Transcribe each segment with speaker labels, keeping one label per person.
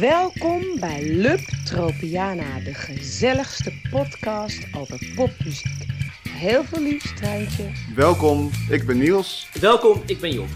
Speaker 1: Welkom bij Lub Tropiana, de gezelligste podcast over popmuziek. Heel veel liefst, Treintje.
Speaker 2: Welkom, ik ben Niels,
Speaker 3: Welkom, ik ben Job.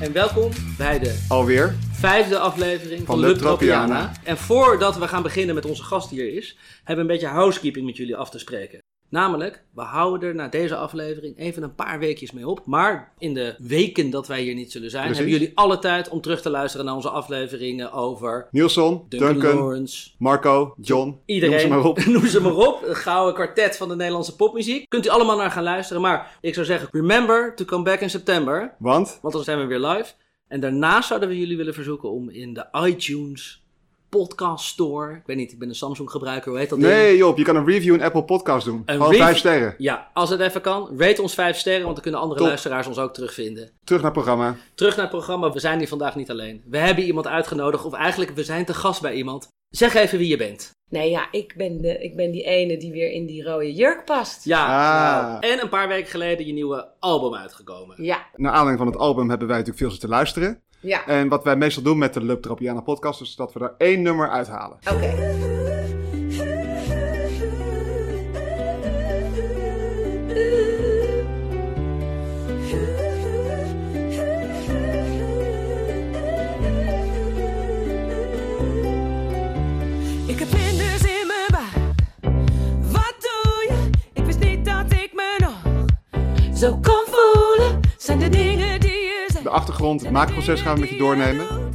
Speaker 3: En welkom bij de
Speaker 2: alweer.
Speaker 3: vijfde aflevering van,
Speaker 2: Van
Speaker 3: Lub
Speaker 2: Lub Tropiana.
Speaker 3: Tropiana. En voordat we gaan beginnen met onze gast die hier is, hebben we een beetje housekeeping met jullie af te spreken. Namelijk, we houden er na deze aflevering even een paar weekjes mee op. Maar in de weken dat wij hier niet zullen zijn,
Speaker 2: Precies.
Speaker 3: hebben jullie alle tijd om terug te luisteren naar onze afleveringen over
Speaker 2: Nielson,
Speaker 3: Duncan,
Speaker 2: Duncan,
Speaker 3: Lawrence,
Speaker 2: Marco, John,
Speaker 3: Iedereen.
Speaker 2: noem ze maar op.
Speaker 3: Noem ze maar op. Het gouden kwartet van de Nederlandse popmuziek. Kunt u allemaal naar gaan luisteren. Maar ik zou zeggen, remember to come back in september.
Speaker 2: Want,
Speaker 3: Want dan zijn we weer live. En daarnaast zouden we jullie willen verzoeken om in de iTunes podcast store. Ik weet niet, ik ben een Samsung gebruiker. Hoe heet dat ding?
Speaker 2: nee Job, je kan een review in Apple Podcast doen. Gewoon
Speaker 3: review-
Speaker 2: vijf sterren.
Speaker 3: Ja, als het even kan. Rate ons vijf sterren, want dan kunnen andere
Speaker 2: Top.
Speaker 3: luisteraars ons ook terugvinden.
Speaker 2: Terug naar het programma.
Speaker 3: Terug naar het programma. We zijn hier vandaag niet alleen. We hebben iemand uitgenodigd. Of eigenlijk, we zijn te gast bij iemand. Zeg even wie je bent.
Speaker 1: Nee, ja, ik ben, de, ik ben die ene die weer in die rode jurk past.
Speaker 3: Ja.
Speaker 2: Ah.
Speaker 3: nou, En een paar weken geleden je nieuwe album uitgekomen.
Speaker 1: Ja,
Speaker 2: Naar aanleiding van het album hebben wij natuurlijk veel zitten luisteren.
Speaker 1: ja.
Speaker 2: En wat wij meestal doen met de Lub Tropiana podcast is dat we er één nummer uithalen.
Speaker 1: Oké.
Speaker 4: Ik heb vlinders in mijn buik. Wat doe je? Ik wist niet dat ik me nog zo kon voelen. Zijn de dingen die je zegt.
Speaker 2: De achtergrond, het maakproces gaan we met je doornemen.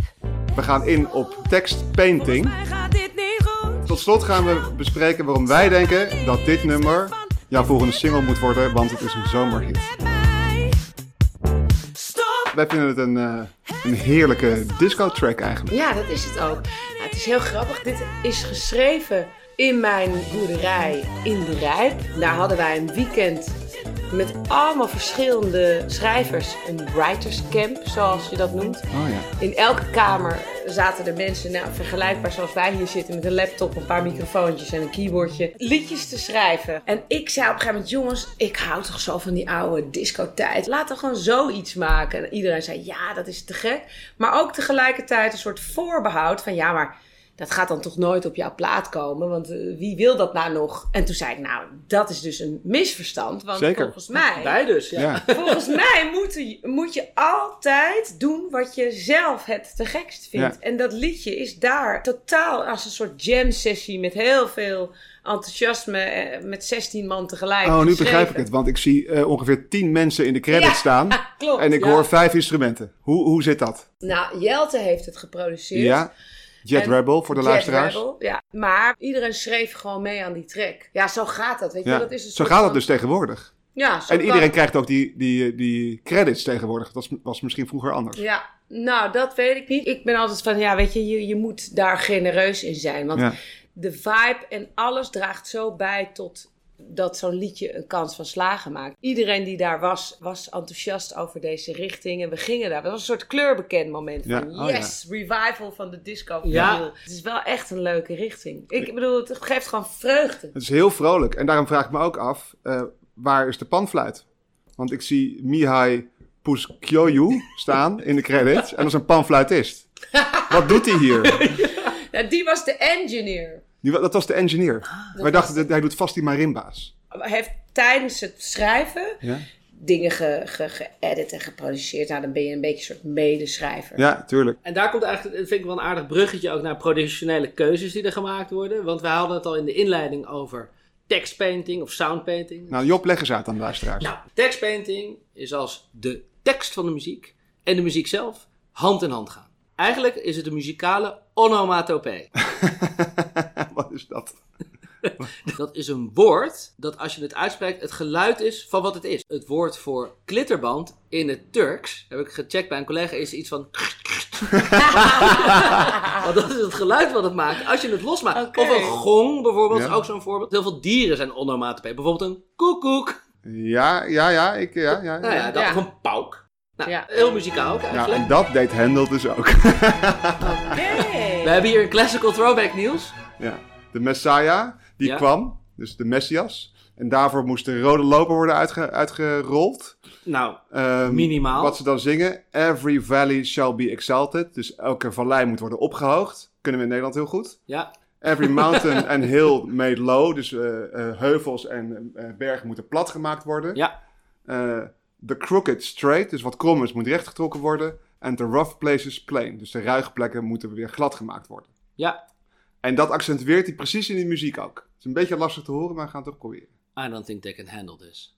Speaker 2: We gaan in op tekst painting.
Speaker 4: Mij gaat dit niet goed.
Speaker 2: Tot slot gaan we bespreken waarom wij denken dat dit nummer jouw volgende single moet worden, want het is een zomerhit.
Speaker 4: Met mij. Stop.
Speaker 2: Wij vinden het een, eh, een heerlijke disco-track eigenlijk.
Speaker 1: Ja, dat is het ook. Ja, het is heel grappig. Dit is geschreven in mijn boerderij in de Rijp. Daar hadden wij een weekend met allemaal verschillende schrijvers. Een writers camp, zoals je dat noemt.
Speaker 2: Oh ja.
Speaker 1: In elke kamer zaten er mensen, nou, vergelijkbaar zoals wij hier zitten, met een laptop, een paar microfoontjes en een keyboardje, liedjes te schrijven. En ik zei op een gegeven moment, jongens, ik hou toch zo van die oude discotijd. Laten we gewoon zoiets maken. En iedereen zei, ja, dat is te gek. Maar ook tegelijkertijd een soort voorbehoud van, ja, maar dat gaat dan toch nooit op jouw plaat komen, want eh, wie wil dat nou nog? En toen zei ik, nou, dat is dus een misverstand, want
Speaker 2: Zeker.
Speaker 1: volgens mij...
Speaker 3: Wij dus, ja.
Speaker 2: Ja,
Speaker 1: Volgens mij moet je, moet je altijd doen wat je zelf het te gekst vindt. En dat liedje is daar totaal als een soort jam sessie met heel veel enthousiasme eh, met 16 man tegelijk.
Speaker 2: Oh, nu
Speaker 1: geschreven.
Speaker 2: begrijp ik het, want ik zie eh, ongeveer tien mensen in de credits
Speaker 1: Ja,
Speaker 2: staan.
Speaker 1: klopt,
Speaker 2: En ik
Speaker 3: ja.
Speaker 2: hoor vijf instrumenten. Hoe, hoe zit dat?
Speaker 1: Nou, Jelte heeft het geproduceerd.
Speaker 2: Ja, Jet
Speaker 1: En
Speaker 2: Rebel voor de
Speaker 1: Jet
Speaker 2: luisteraars.
Speaker 1: Rebel, ja. Maar iedereen schreef gewoon mee aan die track. Ja, zo gaat dat. Weet je,
Speaker 2: Ja.
Speaker 1: dat is een
Speaker 2: Zo
Speaker 1: soort
Speaker 2: gaat dat
Speaker 1: van-
Speaker 2: dus tegenwoordig.
Speaker 1: Ja, zo
Speaker 2: En
Speaker 1: kan
Speaker 2: iedereen
Speaker 1: het.
Speaker 2: krijgt ook die, die, die credits tegenwoordig. Dat was, was misschien vroeger anders.
Speaker 1: Ja, nou, dat weet ik niet. Ik ben altijd van, ja, weet je, je, je moet daar genereus in zijn. Want
Speaker 2: Ja.
Speaker 1: de vibe en alles draagt zo bij tot dat zo'n liedje een kans van slagen maakt. Iedereen die daar was, was enthousiast over deze richting. En we gingen daar. Dat was een soort kleurbekend moment.
Speaker 2: Ja,
Speaker 1: Van,
Speaker 2: oh ja.
Speaker 1: yes, revival van de disco.
Speaker 3: Ja.
Speaker 1: Ja. Het is wel echt een leuke richting. Ik bedoel, het geeft gewoon vreugde.
Speaker 2: Het is heel vrolijk. En daarom vraag ik me ook af, eh, waar is de panfluit? Want ik zie Mihai Puskyoyu staan in de credits. En dat is een panfluitist. Wat doet hij hier?
Speaker 1: Nou, die was de engineer.
Speaker 2: Die wa- dat was de engineer. Wij dachten, Ah, dat hij doet vast die marimba's.
Speaker 1: Heeft tijdens het schrijven
Speaker 2: Ja,
Speaker 1: dingen ge- ge- geëdit en geproduceerd. Nou, dan ben je een beetje een soort medeschrijver.
Speaker 2: ja tuurlijk.
Speaker 3: En daar komt eigenlijk, dat vind ik wel een aardig bruggetje ook naar productionele keuzes die er gemaakt worden. Want wij hadden het al in de inleiding over tekstpainting of soundpainting. Nou,
Speaker 2: Nou, Job, leg eens uit aan de luisteraars.
Speaker 3: tekstpainting is als de tekst van de muziek en de muziek zelf hand in hand gaan. Eigenlijk is het een muzikale onomatopee.
Speaker 2: Wat is dat?
Speaker 3: Dat is een woord dat als je het uitspreekt het geluid is van wat het is. Het woord voor klitterband in het Turks, heb ik gecheckt bij een collega, is iets van... Want dat is het geluid wat het maakt als je het losmaakt.
Speaker 1: Oké.
Speaker 3: Of een gong bijvoorbeeld,
Speaker 2: Ja.
Speaker 3: is ook zo'n voorbeeld. Heel veel dieren zijn onomatopee. Bijvoorbeeld een koekoek,
Speaker 2: Ja, ja, ja, ik, ja, ja. ja.
Speaker 3: nou ja, dat,
Speaker 1: Ja.
Speaker 3: of een pauk. Nou,
Speaker 1: Ja.
Speaker 3: heel muzikaal ook
Speaker 2: Nou,
Speaker 3: eigenlijk.
Speaker 2: en dat deed Hendel dus ook.
Speaker 1: Hey.
Speaker 3: We hebben hier een classical throwback, Niels.
Speaker 2: ja. De Messiah, die
Speaker 3: Ja.
Speaker 2: kwam, dus de Messias. En En daarvoor moest de rode loper worden uitge- uitgerold.
Speaker 3: Nou,
Speaker 2: Ehm,
Speaker 3: Minimaal.
Speaker 2: Wat ze dan zingen. Every valley shall be exalted. Dus elke vallei moet worden opgehoogd. Kunnen we in Nederland heel goed.
Speaker 3: ja.
Speaker 2: Every mountain and hill made low. Dus eh, eh, heuvels en eh, bergen moeten plat gemaakt worden.
Speaker 3: Ja.
Speaker 2: Eh, the crooked straight. Dus wat krom is moet rechtgetrokken worden. En the rough places plain. Dus de ruige plekken moeten weer glad gemaakt worden.
Speaker 3: Ja.
Speaker 2: En dat accentueert hij precies in die muziek ook. Het is een beetje lastig te horen, maar we gaan het toch proberen.
Speaker 3: I don't think they can handle this.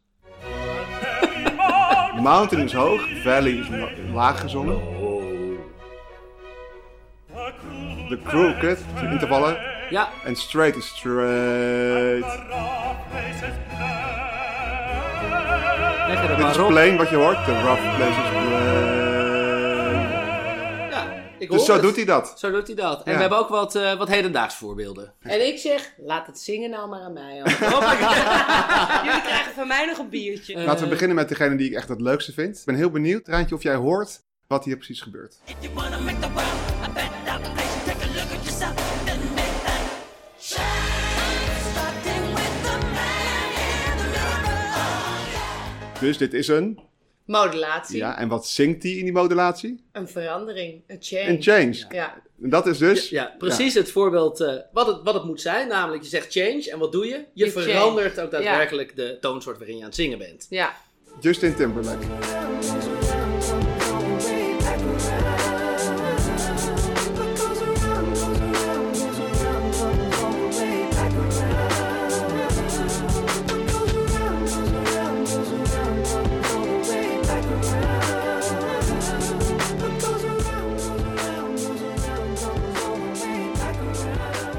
Speaker 2: Mountain is hoog, valley is la- laag gezongen. The crooked, zit niet te vallen.
Speaker 3: Ja.
Speaker 2: En straight is straight.
Speaker 3: Lekker
Speaker 2: Dit is
Speaker 3: maar op.
Speaker 2: plain wat je hoort. The rough places plain.
Speaker 3: Ja, ik
Speaker 2: Dus
Speaker 3: hoor
Speaker 2: zo
Speaker 3: het.
Speaker 2: doet hij dat.
Speaker 3: Zo doet hij dat. En
Speaker 2: Ja.
Speaker 3: we hebben ook wat, eh, wat hedendaags voorbeelden.
Speaker 1: En ik zeg, laat het zingen nou maar aan mij. hoor. Jullie krijgen van mij nog een biertje.
Speaker 2: Laten we beginnen met degene die ik echt het leukste vind. Ik ben heel benieuwd, Raantje, of jij hoort wat hier precies gebeurt.
Speaker 4: If you wanna make the world a better place, take a look at yourself and make that change. Starting with the man in the mirror.
Speaker 2: Dus dit is een.
Speaker 1: Modulatie,
Speaker 2: Ja, en wat zingt hij in die modulatie?
Speaker 1: een verandering, een change.
Speaker 2: Een change.
Speaker 1: Ja.
Speaker 2: En dat is dus.
Speaker 3: Ja, precies het voorbeeld eh, wat, het, wat het moet zijn. Namelijk, je zegt change en wat doe je? Je,
Speaker 1: Je
Speaker 3: verandert
Speaker 1: change.
Speaker 3: ook daadwerkelijk de toonsoort waarin je aan het zingen bent.
Speaker 1: ja.
Speaker 2: Justin Timberlake.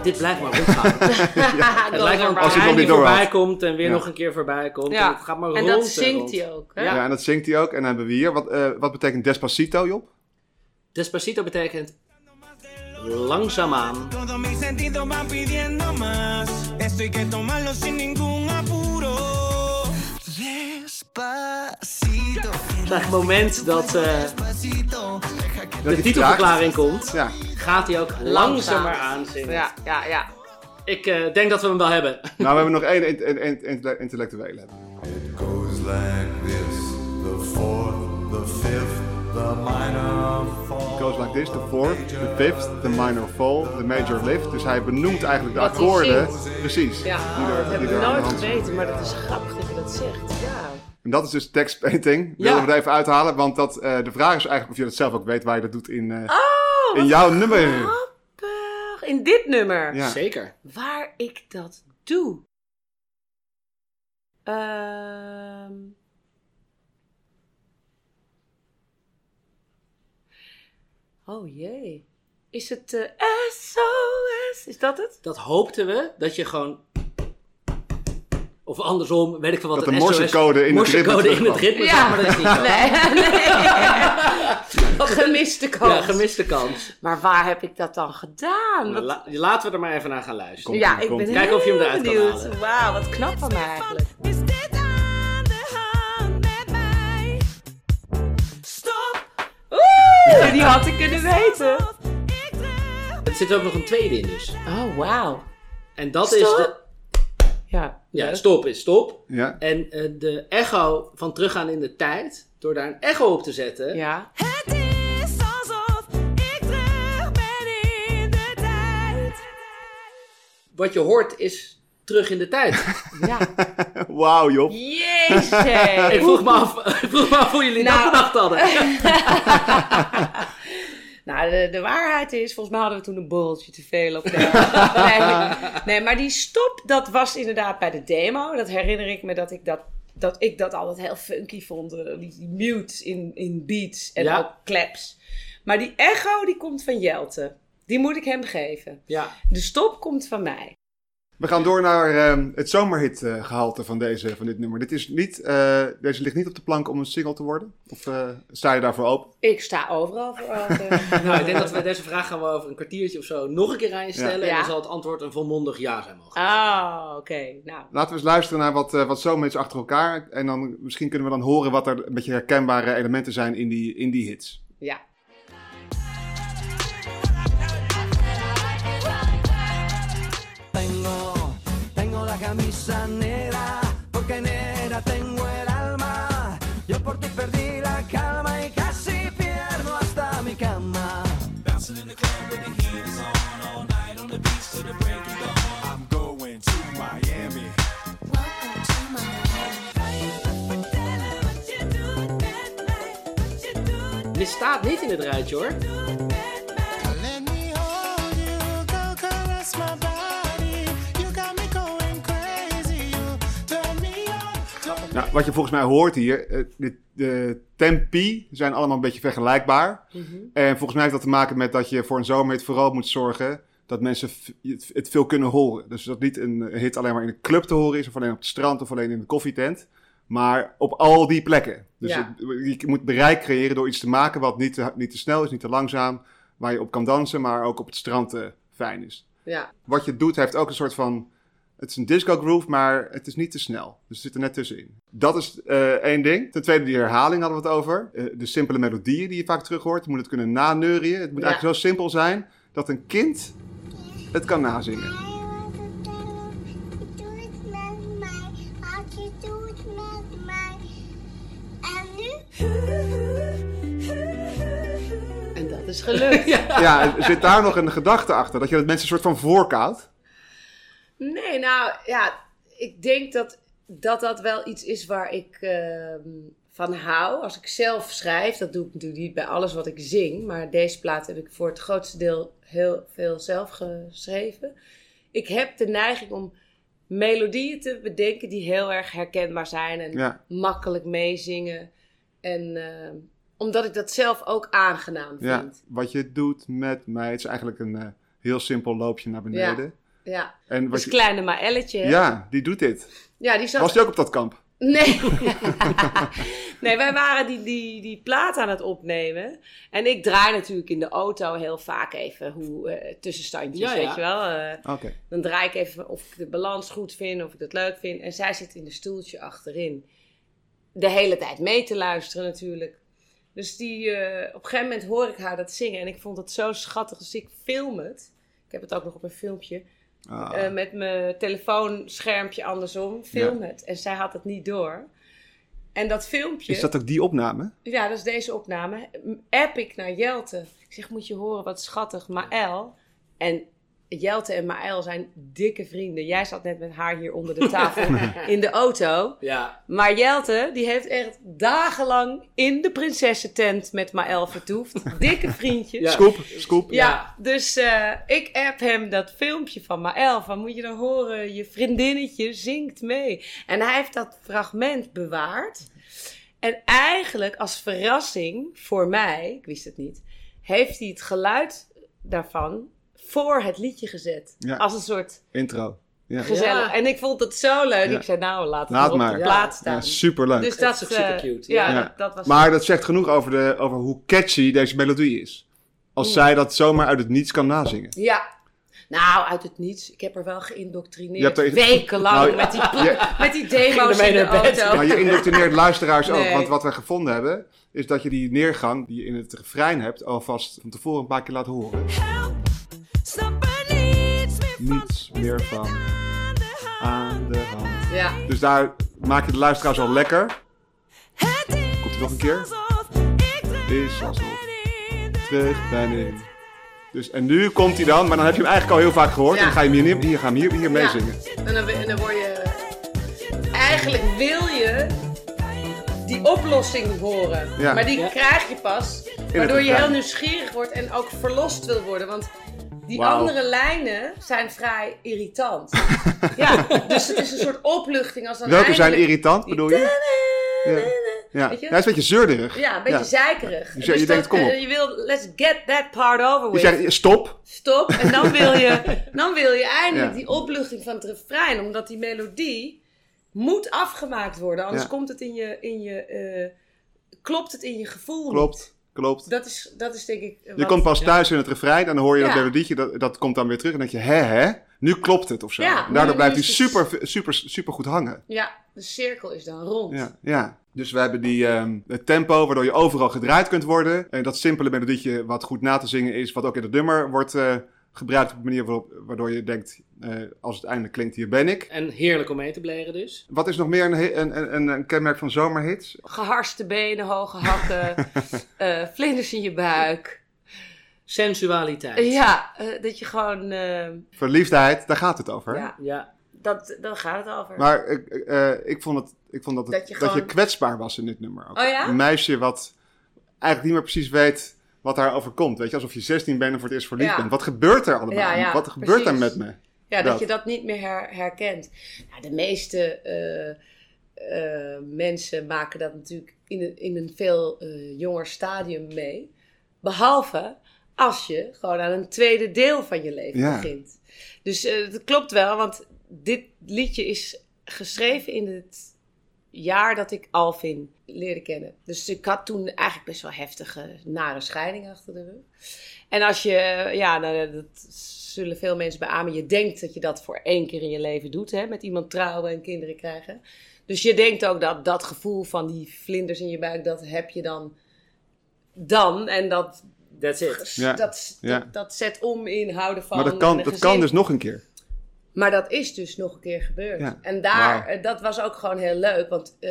Speaker 3: Dit blijft maar rondgaan.
Speaker 1: het
Speaker 3: het lijkt wel als
Speaker 2: Als hij
Speaker 3: hij
Speaker 2: nog
Speaker 3: niet
Speaker 2: niet door had.
Speaker 3: voorbij komt en weer
Speaker 2: Ja.
Speaker 3: nog een keer voorbij komt.
Speaker 1: Ja.
Speaker 3: En het gaat maar
Speaker 1: En
Speaker 3: rond.
Speaker 1: dat
Speaker 3: rond.
Speaker 1: zingt hij ook. Hè?
Speaker 3: Ja.
Speaker 2: Ja, en dat zingt hij ook. En dan hebben we hier. Wat, eh, wat betekent Despacito, Job?
Speaker 3: Despacito betekent langzaamaan.
Speaker 5: Todos mis sentidos van pidiendo más. Esto hay que tomarlo sin ningún apuro. Despacito,
Speaker 3: Op het moment dat eh,
Speaker 5: despacito. Deja
Speaker 2: Dat hij
Speaker 3: de
Speaker 5: que
Speaker 2: vraagt.
Speaker 3: titelverklaring komt,
Speaker 2: Ja,
Speaker 3: gaat hij ook langzamer aanzingen.
Speaker 1: Ja, ja, ja.
Speaker 3: Ik eh, denk dat we hem wel hebben.
Speaker 2: nou we hebben nog één int- int- int- int- intellectuele.
Speaker 6: It goes like this the fourth, the fifth, the minor fall.
Speaker 2: goes like this, the fourth, the fifth, the minor fall, the major lift. Dus hij benoemt eigenlijk de
Speaker 1: Wat hij
Speaker 2: akkoorden.
Speaker 1: zingt.
Speaker 2: Precies.
Speaker 1: Ja,
Speaker 2: die er-
Speaker 1: dat heb
Speaker 2: die
Speaker 1: ik
Speaker 2: er aan de
Speaker 1: nooit
Speaker 2: hand zijn.
Speaker 1: geweten, maar dat is grappig dat je dat zegt. Ja.
Speaker 2: En dat is dus text painting. Willen we er even uithalen, want dat, eh, de vraag is eigenlijk of je dat zelf ook weet waar je dat doet in, eh,
Speaker 1: Oh,
Speaker 2: in
Speaker 1: wat
Speaker 2: jouw nummer.
Speaker 1: grappig. In dit nummer.
Speaker 2: Ja.
Speaker 3: Zeker.
Speaker 1: Waar ik dat doe. Ehm. Oh jee. Is het eh, SOS? Is dat het?
Speaker 3: Dat hoopten we dat je gewoon. Of andersom, weet ik veel wat.
Speaker 2: Dat de
Speaker 3: een
Speaker 2: morsecode in het ritme
Speaker 3: morsecode in het
Speaker 2: terugkwam.
Speaker 3: ritme zat, maar dat is niet zo.
Speaker 1: Nee, nee. Gemiste kans.
Speaker 3: Ja, gemiste kans.
Speaker 1: Maar waar heb ik dat dan gedaan? Wat-
Speaker 3: La- laten we er maar even naar gaan luisteren.
Speaker 1: ja, ik
Speaker 2: komt.
Speaker 1: ben
Speaker 3: Kijken of je hem
Speaker 1: heel
Speaker 3: eruit kan
Speaker 1: benieuwd.
Speaker 3: halen.
Speaker 1: Wauw, wat knap van mij eigenlijk.
Speaker 4: Is dit aan de hand met mij? Stop,
Speaker 1: Oeh, die had ik kunnen weten.
Speaker 4: ik drijf.
Speaker 3: Er zit ook nog een tweede in dus.
Speaker 1: Oh, wauw.
Speaker 3: En dat is
Speaker 1: Stop.
Speaker 3: de...
Speaker 1: Ja,
Speaker 3: Ja, stop is stop.
Speaker 2: Ja.
Speaker 3: En eh, de echo van teruggaan in de tijd, door daar een echo op te zetten,
Speaker 1: ja.
Speaker 4: Het is alsof ik terug ben in de tijd.
Speaker 3: wat je hoort is terug in de tijd.
Speaker 1: ja.
Speaker 2: Wauw, Job.
Speaker 1: Jezus.
Speaker 3: ik vroeg me af, ik vroeg me af hoe jullie dat
Speaker 1: Nou.
Speaker 3: bedacht hadden.
Speaker 1: Nou, de, de waarheid is, volgens mij hadden we toen een borreltje te veel op. de- nee, nee, maar die stop, dat was inderdaad bij de demo. Dat herinner ik me dat ik dat, dat, ik dat altijd heel funky vond. eh, Die, die mutes in, in beats en
Speaker 3: Ja.
Speaker 1: ook claps. Maar die echo, die komt van Jelte. Die moet ik hem geven.
Speaker 3: Ja.
Speaker 1: De stop komt van mij.
Speaker 2: We gaan door naar ehm, het zomerhit eh, gehalte van, deze, van dit nummer. Dit is niet, eh, deze ligt niet op de plank om een single te worden. Of eh, sta je daarvoor open?
Speaker 1: Ik sta overal voor open.
Speaker 3: Nou, ik denk dat we deze vraag gaan we over een kwartiertje of zo nog een keer aan je stellen.
Speaker 1: Ja.
Speaker 3: En dan
Speaker 1: Ja.
Speaker 3: zal het antwoord een volmondig ja zijn mogen.
Speaker 1: Oh, oké. Nou,
Speaker 2: Laten we eens luisteren naar wat, eh wat zomerhits achter elkaar. En dan misschien kunnen we dan horen wat er een beetje herkenbare elementen zijn in die, in die hits.
Speaker 1: ja.
Speaker 5: Tengo, tengo la camisa negra
Speaker 7: por ti perdí la calma y casi pierdo hasta mi cama.
Speaker 6: I'm going to Miami.
Speaker 3: Dit staat niet in het rijtje hoor.
Speaker 5: Let me hold oh, you, go caress my body. You got me going crazy. You turn me on. turn
Speaker 2: Nou, wat je volgens mij hoort hier, eh, de, de tempi zijn allemaal een beetje vergelijkbaar.
Speaker 1: Mhm.
Speaker 2: En volgens mij heeft dat te maken met dat je voor een zomerhit vooral moet zorgen dat mensen v- het, het veel kunnen horen. Dus dat niet een hit alleen maar in een club te horen is, of alleen op het strand, of alleen in een koffietent. Maar op al die plekken. Dus
Speaker 1: Ja.
Speaker 2: het- je moet bereik creëren door iets te maken wat niet te, niet te snel is, niet te langzaam. Waar je op kan dansen, maar ook op het strand eh, fijn is.
Speaker 1: Ja.
Speaker 2: Wat je doet heeft ook een soort van het is een disco groove, maar het is niet te snel. Dus het zit er net tussenin. Dat is eh, één ding. Ten tweede, die herhaling hadden we het over. Eh, de simpele melodieën die je vaak terug hoort. Je moet het kunnen naneurien. Het moet
Speaker 1: Ja.
Speaker 2: eigenlijk zo simpel zijn dat een kind het kan nazingen.
Speaker 1: En dat is gelukt.
Speaker 2: Ja, er zit daar nog een gedachte achter. Dat je dat mensen een soort van voorkoudt.
Speaker 1: Nee, nou ja, ik denk dat dat, dat wel iets is waar ik ehm, van hou. Als ik zelf schrijf, dat doe ik natuurlijk niet bij alles wat ik zing. Maar deze plaat heb ik voor het grootste deel heel veel zelf geschreven. Ik heb de neiging om melodieën te bedenken die heel erg herkenbaar zijn en
Speaker 2: Ja.
Speaker 1: makkelijk meezingen. En ehm, omdat ik dat zelf ook aangenaam
Speaker 2: Ja.
Speaker 1: vind.
Speaker 2: Wat je doet met mij. Het is eigenlijk een eh, heel simpel loopje naar beneden.
Speaker 1: Ja.
Speaker 2: En wat
Speaker 1: Dus
Speaker 2: je,
Speaker 1: kleine Maëlletje. hè?
Speaker 2: ja, die doet dit.
Speaker 1: ja, die zat
Speaker 2: Was die ook op dat kamp?
Speaker 1: Nee. nee, wij waren die, die, die plaat aan het opnemen. En ik draai natuurlijk in de auto heel vaak even hoe, eh, tussenstandjes,
Speaker 3: Ja, ja.
Speaker 1: weet je wel. eh.
Speaker 2: Oké.
Speaker 1: dan draai ik even of ik de balans goed vind, of ik dat leuk vind. En zij zit in de stoeltje achterin. De hele tijd mee te luisteren natuurlijk. Dus die, eh, op een gegeven moment hoor ik haar dat zingen. En ik vond het zo schattig. Dus ik film het. Ik heb het ook nog op een filmpje.
Speaker 2: Ah.
Speaker 1: Eh, met mijn telefoonschermpje andersom. Film het. En zij had het niet door. En dat filmpje,
Speaker 2: is dat ook die opname?
Speaker 1: ja, dat is deze opname, m- app ik naar Jelte. Ik zeg, moet je horen wat schattig, Maël. En Jelte en Maël zijn dikke vrienden. Jij zat net met haar hier onder de tafel in de auto.
Speaker 3: Ja.
Speaker 1: Maar Jelte, die heeft echt dagenlang in de prinsessentent met Maël vertoefd. Dikke vriendjes.
Speaker 3: Ja.
Speaker 2: Scoop, scoop.
Speaker 1: Ja, dus eh, ik app hem dat filmpje van Maël. Van moet je dan horen, je vriendinnetje zingt mee. En hij heeft dat fragment bewaard. En eigenlijk als verrassing voor mij, ik wist het niet, heeft hij het geluid daarvan voor het liedje gezet.
Speaker 2: Ja.
Speaker 1: Als een soort
Speaker 2: Intro. Ja.
Speaker 1: gezellig.
Speaker 3: Ja.
Speaker 1: En ik vond het zo leuk.
Speaker 2: Ja.
Speaker 1: Ik zei nou, laat het
Speaker 2: Laat
Speaker 1: maar op
Speaker 2: maar.
Speaker 1: de plaats staan.
Speaker 2: Ja, superleuk.
Speaker 1: Dus
Speaker 3: Dat
Speaker 1: dat
Speaker 3: is ook super
Speaker 1: eh,
Speaker 3: cute.
Speaker 1: Ja,
Speaker 2: Ja.
Speaker 1: Dat, dat was
Speaker 2: maar dat zegt genoeg over, de, over hoe catchy deze melodie is. Als zij dat zomaar uit het niets kan nazingen.
Speaker 1: Ja. Nou, uit het niets. Ik heb er wel geïndoctrineerd.
Speaker 2: Je hebt er-
Speaker 1: Wekenlang
Speaker 2: Nou,
Speaker 1: met, die
Speaker 2: je-
Speaker 1: met die demo's in
Speaker 3: Ging ermee
Speaker 1: de
Speaker 3: naar bed.
Speaker 1: auto.
Speaker 2: Maar je indoctrineert luisteraars ook.
Speaker 1: Nee.
Speaker 2: Want wat wij gevonden hebben, is dat je die neergang die je in het refrein hebt, alvast van tevoren een paar keer laat horen.
Speaker 4: Snap er niets meer van.
Speaker 2: Niets meer van aan de hand.
Speaker 1: Ja.
Speaker 2: Dus daar maak je de luisteraars al lekker. Komt hij nog een keer? Is alsof. Terug ben ik. Dus, en nu komt hij dan, maar dan heb je hem eigenlijk al heel vaak gehoord.
Speaker 1: Ja.
Speaker 2: En dan ga je hem hier, hier, gaan we hier, hier
Speaker 1: Ja.
Speaker 2: meezingen.
Speaker 1: En, dan, en dan word je... Eigenlijk wil je die oplossing horen.
Speaker 2: Ja.
Speaker 1: Maar die
Speaker 3: Ja.
Speaker 1: krijg je pas. Waardoor je
Speaker 2: refrein.
Speaker 1: heel nieuwsgierig wordt en ook verlost wil worden. Want die
Speaker 2: Wauw.
Speaker 1: andere lijnen zijn vrij irritant. ja, dus het is een soort opluchting als dan
Speaker 2: Welke zijn
Speaker 1: eindelijk-
Speaker 2: irritant, bedoel je? Ja. Ja.
Speaker 1: Weet je?
Speaker 2: Ja, hij is een beetje zeurderig.
Speaker 1: Ja, een beetje zeikerig.
Speaker 2: Dus je- je denkt, kom op.
Speaker 1: eh, je wil, let's get that part over
Speaker 2: Je
Speaker 1: with.
Speaker 2: zegt stop.
Speaker 1: Stop. En dan wil je, dan wil je eindelijk
Speaker 2: Ja.
Speaker 1: die opluchting van het refrein. Omdat die melodie moet afgemaakt worden. Anders
Speaker 2: Ja.
Speaker 1: komt het in je, in je eh, klopt het in je gevoel niet.
Speaker 2: Klopt, klopt.
Speaker 1: Dat is, dat is denk ik... eh,
Speaker 2: Je
Speaker 1: wat-
Speaker 2: komt pas thuis in het refrein en dan hoor je dat
Speaker 1: Ja.
Speaker 2: melodietje, dat, dat komt dan weer terug. En dan denk je, hè hè, nu klopt het of zo.
Speaker 1: Ja,
Speaker 2: En Daardoor
Speaker 1: nu-
Speaker 2: blijft
Speaker 1: nu
Speaker 2: hij
Speaker 1: is het-
Speaker 2: super, super, super goed hangen.
Speaker 1: Ja, de cirkel is dan rond.
Speaker 2: Ja, ja. Dus we hebben die, ehm, het tempo waardoor je overal gedraaid kunt worden. En dat simpele melodietje wat goed na te zingen is, wat ook in het nummer wordt eh, gebruikt op een manier waarop, waardoor je denkt, eh, als het einde klinkt, hier ben ik.
Speaker 3: En heerlijk om mee te bleren dus.
Speaker 2: Wat is nog meer een, he- een, een, een- een kenmerk van zomerhits?
Speaker 1: Geharste benen, hoge hakken, eh, vlinders in je buik.
Speaker 3: Sensualiteit.
Speaker 1: Ja, eh, dat je gewoon... eh,
Speaker 2: Verliefdheid, daar gaat het over.
Speaker 1: ja,
Speaker 3: Ja.
Speaker 1: dat, daar gaat het over.
Speaker 2: Maar ik, ik, eh, ik vond, het, ik vond dat, het,
Speaker 1: Dat
Speaker 2: dat,
Speaker 1: je
Speaker 2: je
Speaker 1: gewoon-
Speaker 2: kwetsbaar was in dit nummer. Ook.
Speaker 1: Oh ja?
Speaker 2: Een meisje wat eigenlijk niet meer precies weet wat haar overkomt. Weet je, alsof je 16 bent en voor het eerst verliefd
Speaker 1: Ja.
Speaker 2: bent. Wat gebeurt er allemaal?
Speaker 1: Ja, ja,
Speaker 2: wat gebeurt er
Speaker 1: precies.
Speaker 2: met me?
Speaker 1: ja, dat,
Speaker 2: dat.
Speaker 1: je dat niet meer her- herkent. Nou, de meeste eh, eh, mensen maken dat natuurlijk in een, in een veel eh, jonger stadium mee. Behalve als je gewoon aan een tweede deel van je leven
Speaker 2: Ja.
Speaker 1: begint. Dus eh, het klopt wel, want dit liedje is geschreven in het jaar dat ik Alvin leerde kennen. Dus ik had toen eigenlijk best wel heftige, nare scheiding achter de rug. En als je, ja, nou, dat zullen veel mensen beamen. Je denkt dat je dat voor één keer in je leven doet, hè? met iemand trouwen en kinderen krijgen. Dus je denkt ook dat dat gevoel van die vlinders in je buik, dat heb je dan. Dan en dat,
Speaker 3: That's it.
Speaker 2: Ja,
Speaker 1: dat,
Speaker 2: ja.
Speaker 1: dat, dat zet om in houden van.
Speaker 2: Maar dat
Speaker 1: en
Speaker 2: kan,
Speaker 1: een
Speaker 2: dat
Speaker 1: gezin.
Speaker 2: kan dus nog een keer.
Speaker 1: Maar dat is dus nog een keer gebeurd.
Speaker 2: Ja.
Speaker 1: En daar,
Speaker 2: Wauw.
Speaker 1: eh, dat was ook gewoon heel leuk. Want eh,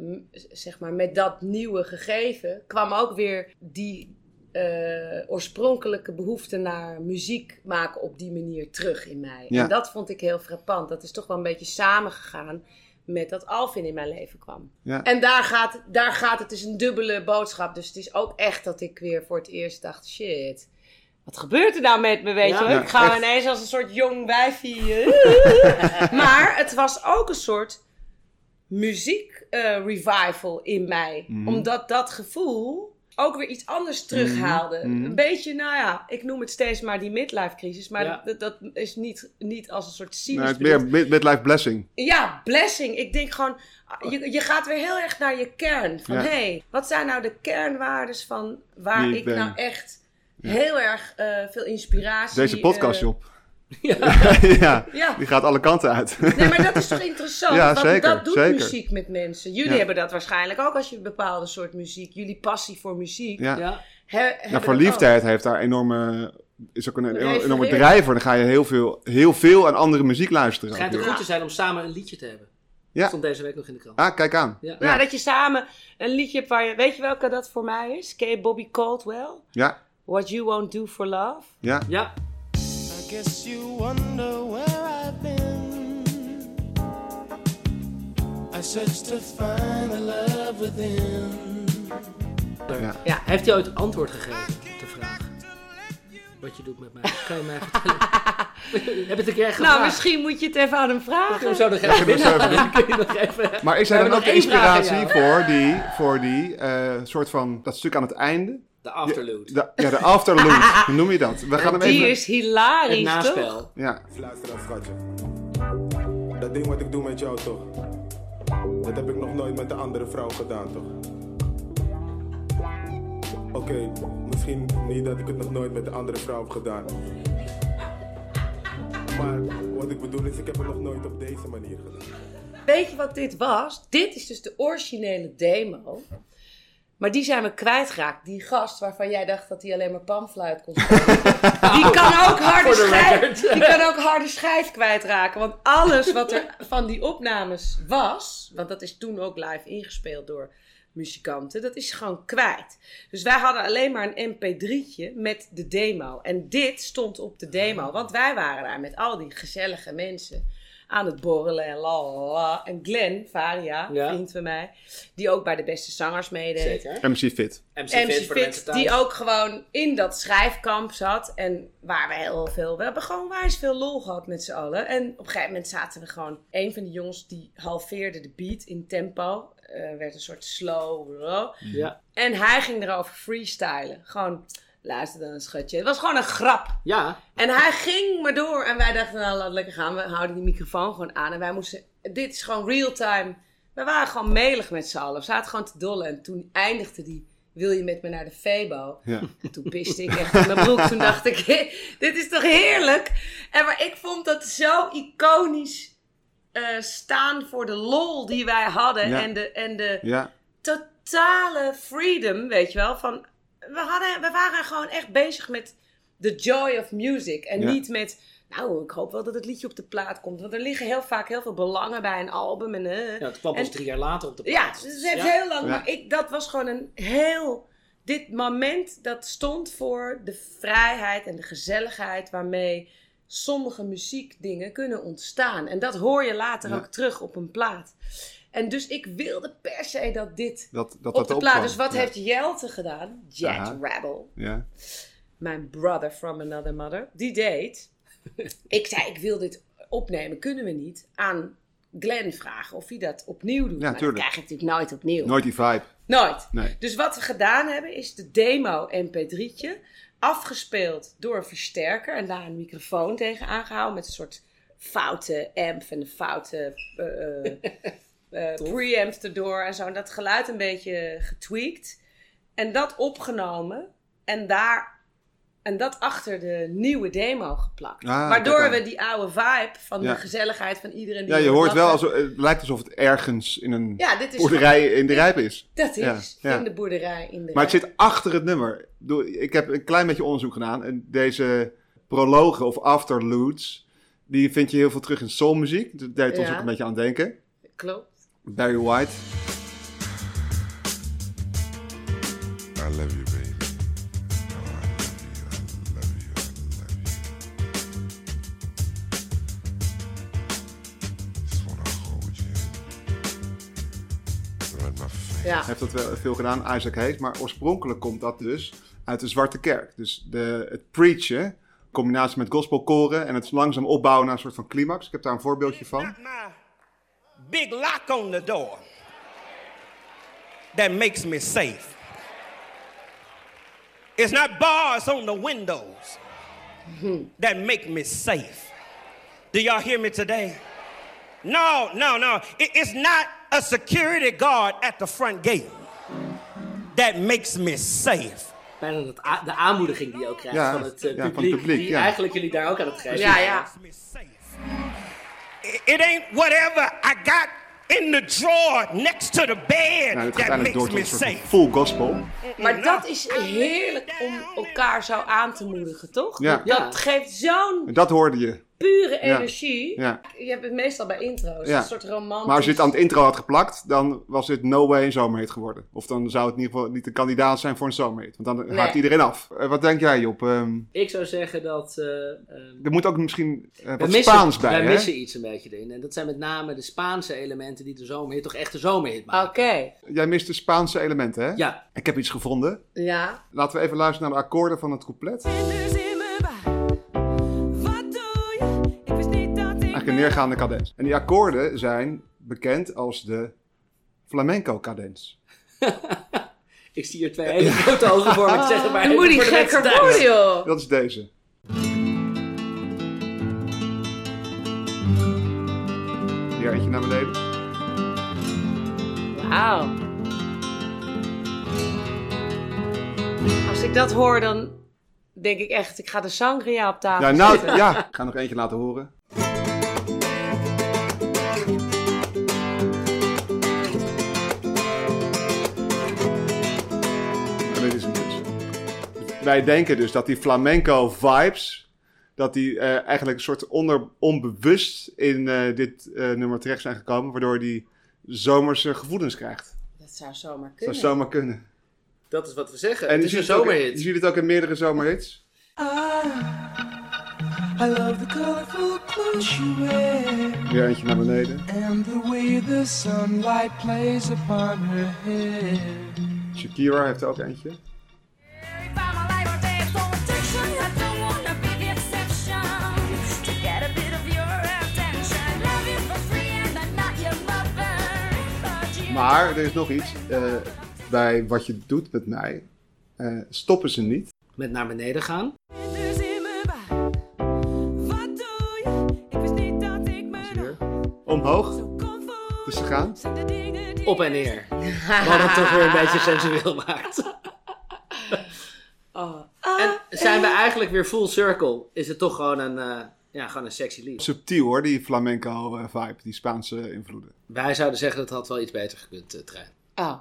Speaker 1: m- zeg maar, met dat nieuwe gegeven kwam ook weer die eh, oorspronkelijke behoefte naar muziek maken op die manier terug in mij.
Speaker 2: Ja.
Speaker 1: En dat vond ik heel frappant. Dat is toch wel een beetje samengegaan met dat Alvin in mijn leven kwam.
Speaker 2: Ja.
Speaker 1: En daar gaat, daar gaat het, het is een dubbele boodschap. Dus het is ook echt dat ik weer voor het eerst dacht, shit, wat gebeurt er nou met me, weet
Speaker 3: Ja.
Speaker 1: je wel?
Speaker 2: Ja,
Speaker 1: ik ga
Speaker 2: echt.
Speaker 1: ineens als een soort jong wijfie. eh. maar het was ook een soort muziek eh, revival in mij.
Speaker 2: Mhm.
Speaker 1: Omdat dat gevoel ook weer iets anders terughaalde.
Speaker 2: Mhm.
Speaker 1: Een beetje, nou ja, ik noem het steeds maar die midlife crisis. Maar
Speaker 3: Ja.
Speaker 1: dat, dat is niet, niet als een soort cynisch
Speaker 2: Nou, het is
Speaker 1: bedoeld.
Speaker 2: meer mid- midlife blessing.
Speaker 1: Ja, blessing. Ik denk gewoon, je, je gaat weer heel erg naar je kern. Van
Speaker 2: Oh. Ja.
Speaker 1: hé, hey, wat zijn nou de kernwaardes van waar
Speaker 2: Wie
Speaker 1: ik,
Speaker 2: ik ben.
Speaker 1: nou echt heel erg eh, veel inspiratie...
Speaker 2: Deze podcast,
Speaker 1: eh,
Speaker 2: Job.
Speaker 3: Ja.
Speaker 2: ja,
Speaker 1: Ja.
Speaker 2: die gaat alle kanten uit.
Speaker 1: Nee, maar dat is toch interessant?
Speaker 2: Ja,
Speaker 1: Want
Speaker 2: zeker,
Speaker 1: dat doet
Speaker 2: zeker.
Speaker 1: muziek met mensen. Jullie
Speaker 2: Ja.
Speaker 1: hebben dat waarschijnlijk ook als je een bepaalde soort muziek... Jullie passie voor muziek...
Speaker 2: ja.
Speaker 3: Ja.
Speaker 1: he- hebben
Speaker 2: Nou,
Speaker 1: dat
Speaker 2: verliefdheid heeft daar enorme, is ook een
Speaker 1: Refereert.
Speaker 2: enorme drijver. Dan ga je heel veel, heel veel aan andere muziek
Speaker 3: Het
Speaker 2: luisteren.
Speaker 3: schijnt ook
Speaker 2: natuurlijk.
Speaker 3: goed te zijn om samen een liedje te hebben.
Speaker 2: Ja.
Speaker 3: Stond deze week nog in de krant.
Speaker 2: Ah, kijk aan.
Speaker 3: Ja.
Speaker 1: ook. Nou, dat je samen een liedje hebt waar je... Weet je welke dat voor mij is? Ken je Bobby Caldwell?
Speaker 2: Ja,
Speaker 1: What You Won't Do For Love?
Speaker 2: ja.
Speaker 3: Ja.
Speaker 5: I guess you wonder where I've been. I searched to find the love within.
Speaker 2: Ja.
Speaker 1: Ja.
Speaker 3: Heeft hij ooit antwoord gegeven op de vraag? Wat je doet met mij? Kan je mij vertellen? Heb je het een keer gedaan?
Speaker 1: Nou, misschien moet je het even aan hem vragen.
Speaker 3: Zo nog even
Speaker 2: kunnen we zo
Speaker 3: binnen.
Speaker 2: even
Speaker 3: Dan kun je nog even...
Speaker 2: Maar is
Speaker 3: We
Speaker 2: hij dan
Speaker 3: hebben nog
Speaker 2: ook de
Speaker 3: één vraag aan
Speaker 2: inspiratie voor die, voor die eh, soort van, dat stuk aan het einde?
Speaker 3: De afterlude.
Speaker 2: De, ja, de afterloop. Hoe noem je dat? We gaan hem
Speaker 1: Die
Speaker 2: even...
Speaker 1: is hilarisch,
Speaker 3: Het
Speaker 1: toch?
Speaker 3: naspel.
Speaker 2: Ja,
Speaker 6: Luister dan, schatje. Dat ding wat ik doe met jou toch? Dat heb ik nog nooit met de andere vrouw gedaan toch? Oké, misschien niet dat ik het nog nooit met de andere vrouw heb gedaan. Maar wat ik bedoel is, ik heb het nog nooit op deze manier gedaan.
Speaker 1: Weet je wat dit was? Dit is dus de originele demo. Maar die zijn we kwijtgeraakt. Die gast waarvan jij dacht dat hij alleen maar panfluit kon spelen. Die kan ook harde
Speaker 3: For the
Speaker 1: schijf,
Speaker 3: record.
Speaker 1: die kan ook harde schijf kwijtraken. Want alles wat er van die opnames was... Want dat is toen ook live ingespeeld door muzikanten. Dat is gewoon kwijt. Dus wij hadden alleen maar een mp3'tje met de demo. En dit stond op de
Speaker 3: Ah.
Speaker 1: demo. Want wij waren daar met al die gezellige mensen aan het borrelen en la la la. En Glenn, Varia,
Speaker 3: Ja.
Speaker 1: vriend van mij, die ook bij de beste zangers meedeed.
Speaker 3: Zeker.
Speaker 2: MC Fit.
Speaker 3: MC,
Speaker 1: MC
Speaker 3: Fit voor de mensen
Speaker 1: Fit,
Speaker 3: thuis.
Speaker 1: die ook gewoon in dat schrijfkamp zat. En waar we heel veel, we hebben gewoon wijs veel lol gehad met z'n allen. En op een gegeven moment zaten we gewoon, een van de jongens die halveerde de beat in tempo. eh, werd een soort slow. bro.
Speaker 3: Ja.
Speaker 1: En hij ging erover freestylen. Gewoon, luister dan schatje. Het was gewoon een grap.
Speaker 3: Ja.
Speaker 1: En hij ging maar door. En wij dachten, nou, laat lekker gaan. We houden die microfoon gewoon aan. En wij moesten... Dit is gewoon real time. We waren gewoon melig met z'n allen. We zaten gewoon te dollen. En toen eindigde die... Wil je met me naar de Febo?
Speaker 2: Ja.
Speaker 1: En toen piste ik echt in mijn broek. Toen dacht ik, dit is toch heerlijk? En maar ik vond dat zo iconisch eh, staan voor de lol die wij hadden.
Speaker 2: Ja.
Speaker 1: En de, en de
Speaker 2: Ja,
Speaker 1: totale freedom, weet je wel. Van, we, hadden, we waren gewoon echt bezig met the joy of music. En
Speaker 2: Ja.
Speaker 1: niet met, nou, ik hoop wel dat het liedje op de plaat komt. Want er liggen heel vaak heel veel belangen bij een album. En, eh.
Speaker 3: Ja, het kwam
Speaker 1: En-
Speaker 3: pas drie jaar later op de
Speaker 1: Ja,
Speaker 3: plaats.
Speaker 1: dus het heeft
Speaker 3: Ja.
Speaker 1: heel lang.
Speaker 2: Ja.
Speaker 1: Maar ik, dat was gewoon een heel. Dit moment dat stond voor de vrijheid en de gezelligheid waarmee sommige muziekdingen kunnen ontstaan. En dat hoor je later
Speaker 2: Ja.
Speaker 1: ook terug op een plaat. En dus ik wilde per se dat dit
Speaker 2: Dat, dat,
Speaker 1: op
Speaker 2: dat
Speaker 1: de
Speaker 2: opkwam.
Speaker 1: plaat. Dus wat
Speaker 2: Ja.
Speaker 1: heeft Jelte gedaan? Jet
Speaker 2: Aha.
Speaker 1: Rebel
Speaker 2: Ja.
Speaker 1: mijn brother from another mother, die deed. ik zei, ik wil dit opnemen, kunnen we niet? Aan Glenn vragen of hij dat opnieuw doet. maar
Speaker 2: tuurlijk.
Speaker 1: dat krijg ik natuurlijk nooit opnieuw.
Speaker 2: Nooit die vibe.
Speaker 1: Nooit.
Speaker 2: Nee.
Speaker 1: Dus wat we gedaan hebben, is de demo mp3'tje afgespeeld door een versterker en daar een microfoon tegen aangehouden met een soort foute amp en een foute eh, eh, eh, preamp erdoor en zo. En dat geluid een beetje getweakt. En dat opgenomen en daar... En dat achter de nieuwe demo geplakt.
Speaker 2: Ah,
Speaker 1: Waardoor
Speaker 2: kijk aan.
Speaker 1: we die oude vibe van
Speaker 2: Ja.
Speaker 1: de gezelligheid van iedereen die
Speaker 2: Ja, je
Speaker 1: op
Speaker 2: hoort
Speaker 1: lachen-
Speaker 2: wel, alsof, het lijkt alsof het ergens in een
Speaker 1: Ja, dit is
Speaker 2: boerderij in de rijp is.
Speaker 1: Dat is
Speaker 2: Ja, ja.
Speaker 1: in de boerderij. In de
Speaker 2: Maar het
Speaker 1: rij.
Speaker 2: zit achter het nummer. Ik bedoel, Ik heb een klein beetje onderzoek gedaan. En deze prologen of afterludes, die vind je heel veel terug in soulmuziek. Daar deed ons
Speaker 1: Ja.
Speaker 2: ook een beetje aan denken.
Speaker 1: Klopt.
Speaker 2: Barry White.
Speaker 6: I love you, baby. Oh, I love you. I love you. I love you. Just wanna hold you. Run my fingers.
Speaker 1: Ja.
Speaker 2: heeft dat wel veel gedaan, Isaac Hayes. Maar oorspronkelijk komt dat dus uit de Zwarte Kerk. Dus de, het preachen, in combinatie met gospelkoren en het langzaam opbouwen naar een soort van climax. Ik heb daar een voorbeeldje van. Nou,
Speaker 8: Not my big lock on the door that makes me safe. It's not bars on the windows that make me safe. Do y'all hear me today? No, no, no. It- it's not a security guard at the front gate that makes me safe.
Speaker 3: Bijna dat a- de aanmoediging die je ook krijgt
Speaker 2: Ja,
Speaker 3: van, het, eh,
Speaker 2: ja, van het
Speaker 3: publiek,
Speaker 2: publiek,
Speaker 3: Die
Speaker 2: ja.
Speaker 3: eigenlijk jullie daar ook aan het geven.
Speaker 1: Ja, ja.
Speaker 8: makes me safe. It- It ain't whatever I got in the drawer next to the bed
Speaker 2: Nou, het gaat
Speaker 8: that
Speaker 2: uiteindelijk door tot
Speaker 8: makes me
Speaker 2: een soort van
Speaker 8: safe.
Speaker 2: full gospel.
Speaker 1: Maar dat is heerlijk om elkaar zo aan te moedigen, toch?
Speaker 2: Ja.
Speaker 1: Dat, dat geeft zo'n
Speaker 2: En dat hoorde je.
Speaker 1: pure
Speaker 2: Ja.
Speaker 1: energie.
Speaker 2: Ja.
Speaker 1: Je hebt het meestal bij intro's,
Speaker 2: Ja.
Speaker 1: een soort romantisch.
Speaker 2: Maar als je het aan het intro had geplakt, dan was dit No Way een zomerhit geworden. Of dan zou het in ieder geval niet een kandidaat zijn voor een zomerhit. Want dan haakt iedereen af. Eh, wat denk jij, Job? Ehm,
Speaker 3: Ik zou zeggen dat... eh, ehm,
Speaker 2: er moet ook misschien eh,
Speaker 3: We
Speaker 2: wat Spaans bij,
Speaker 3: wij
Speaker 2: hè?
Speaker 3: missen iets een beetje erin. En dat zijn met name de Spaanse elementen die de zomerhit toch echt de zomerhit
Speaker 1: Oké,
Speaker 3: maken.
Speaker 2: Jij mist de Spaanse elementen, hè?
Speaker 3: Ja.
Speaker 2: Ik heb iets gevonden.
Speaker 1: ja.
Speaker 2: Laten we even luisteren naar de akkoorden van het couplet.
Speaker 4: Vlinders in mijn buik. Wat doe je? Ik wist niet dat ik
Speaker 2: Eigenlijk een neergaande cadens. En die akkoorden zijn bekend als de flamenco cadens.
Speaker 3: Ik zie hier twee hele grote ogen voor me zeggen. Maar
Speaker 1: Dan moet die
Speaker 3: voor de mensen
Speaker 1: gekker
Speaker 3: thuis.
Speaker 1: worden, joh.
Speaker 2: Dat is deze. Hier eentje naar beneden.
Speaker 1: Wauw. Als ik dat hoor, dan denk ik echt, ik ga de sangria op tafel
Speaker 2: Ja, nou,
Speaker 1: zetten.
Speaker 2: ja. Ik ga nog eentje laten horen. En dit is hem dus. Wij denken dus dat die flamenco vibes, dat die eh, eigenlijk een soort onder, onbewust in eh, dit eh, nummer terecht zijn gekomen, waardoor die zomerse gevoelens krijgt.
Speaker 1: Dat zou zomaar
Speaker 2: Dat
Speaker 1: kunnen.
Speaker 2: zou zomaar kunnen.
Speaker 3: Dat is wat we zeggen.
Speaker 2: En
Speaker 3: het
Speaker 2: je
Speaker 3: is
Speaker 2: ziet
Speaker 3: een
Speaker 2: het ook-
Speaker 3: zomerhit.
Speaker 2: Je ziet het ook in meerdere zomerhits.
Speaker 7: I love the colorful clothes you wear
Speaker 2: Weer eentje naar beneden.
Speaker 7: and the way the sunlight plays upon her hair.
Speaker 2: Shakira heeft er ook eentje. Maar er is nog iets. eh, bij wat je doet met mij, eh, stoppen ze niet.
Speaker 3: Met naar beneden gaan.
Speaker 4: Vlinders in mijn buik. Wat doe je? Ik wist niet dat ik me nog
Speaker 2: Omhoog,
Speaker 4: zo kon voelen.
Speaker 2: dus ze gaan.
Speaker 4: Zijn de dingen die
Speaker 3: Op en neer. Wat het toch weer een beetje sensueel maakt.
Speaker 1: Oh.
Speaker 3: En zijn we eigenlijk weer full circle? Is het toch gewoon een, eh, ja, gewoon een sexy lied?
Speaker 2: Subtiel hoor, die flamenco eh, vibe, die Spaanse invloeden.
Speaker 3: Wij zouden zeggen dat had wel iets beter gekund, eh, Trein.
Speaker 1: Oh,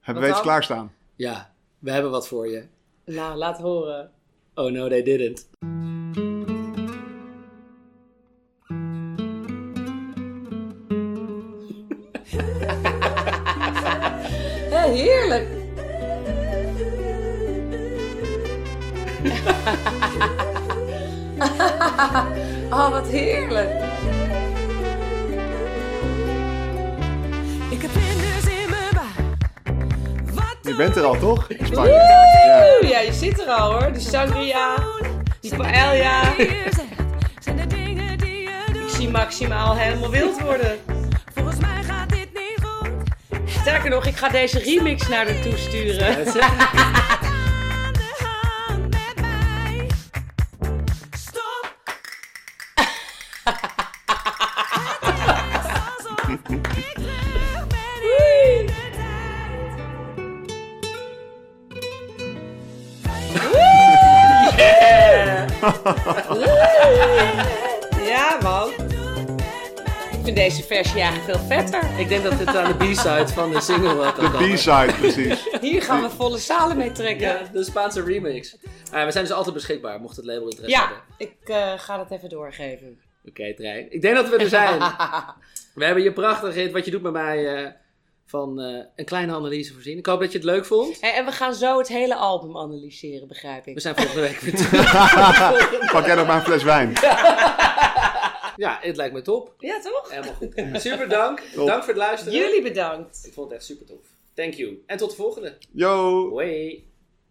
Speaker 2: Hebben
Speaker 1: Wat
Speaker 2: we iets
Speaker 1: dan?
Speaker 2: klaarstaan?
Speaker 3: Ja, we hebben wat voor je.
Speaker 1: nou, laat horen.
Speaker 3: Oh no, they didn't.
Speaker 1: Hé, heerlijk. oh, wat heerlijk.
Speaker 4: Ik heb vlinders in mijn buik. Wat
Speaker 2: Je
Speaker 4: doe
Speaker 2: bent er al, toch? In Spanje. Ja.
Speaker 1: Oeh, ja, je zit er al hoor. Die sangria, die paella.
Speaker 4: je hier zegt? Zijn de dingen die je
Speaker 1: Ik
Speaker 4: doet?
Speaker 1: zie maximaal helemaal wild worden.
Speaker 4: Volgens mij gaat dit niet goed.
Speaker 1: Sterker nog, ik ga deze remix naar haar toe sturen.
Speaker 4: Aan de hand met mij. Stop. Het is alsof ik terug ben in de tijd.
Speaker 1: Ja, man. Ik vind deze versie eigenlijk veel vetter.
Speaker 3: Ik denk dat dit aan de B-side van de single eh, had
Speaker 2: De B-side, precies.
Speaker 1: Hier gaan we volle zalen mee trekken.
Speaker 3: Ja, de Spaanse remix. Ah, we zijn dus altijd beschikbaar, mocht het label interesse hebben.
Speaker 1: Ja, ik eh, ga dat even doorgeven.
Speaker 3: Oké, trein. Ik denk dat we er zijn. we hebben je prachtig hit, wat je doet met mij, eh, van eh, een kleine analyse voorzien. Ik hoop dat je het leuk vond.
Speaker 1: Hé, en we gaan zo het hele album analyseren, begrijp
Speaker 3: We
Speaker 1: ik.
Speaker 3: zijn volgende week weer terug.
Speaker 2: Pak jij nog maar een fles wijn.
Speaker 3: Ja, het lijkt me top.
Speaker 1: Ja, toch?
Speaker 3: Helemaal goed. Super dank. Dank voor het luisteren.
Speaker 1: Jullie bedankt.
Speaker 3: Ik vond het echt super tof. Thank you. En tot de volgende.
Speaker 2: Yo!
Speaker 3: Hoi.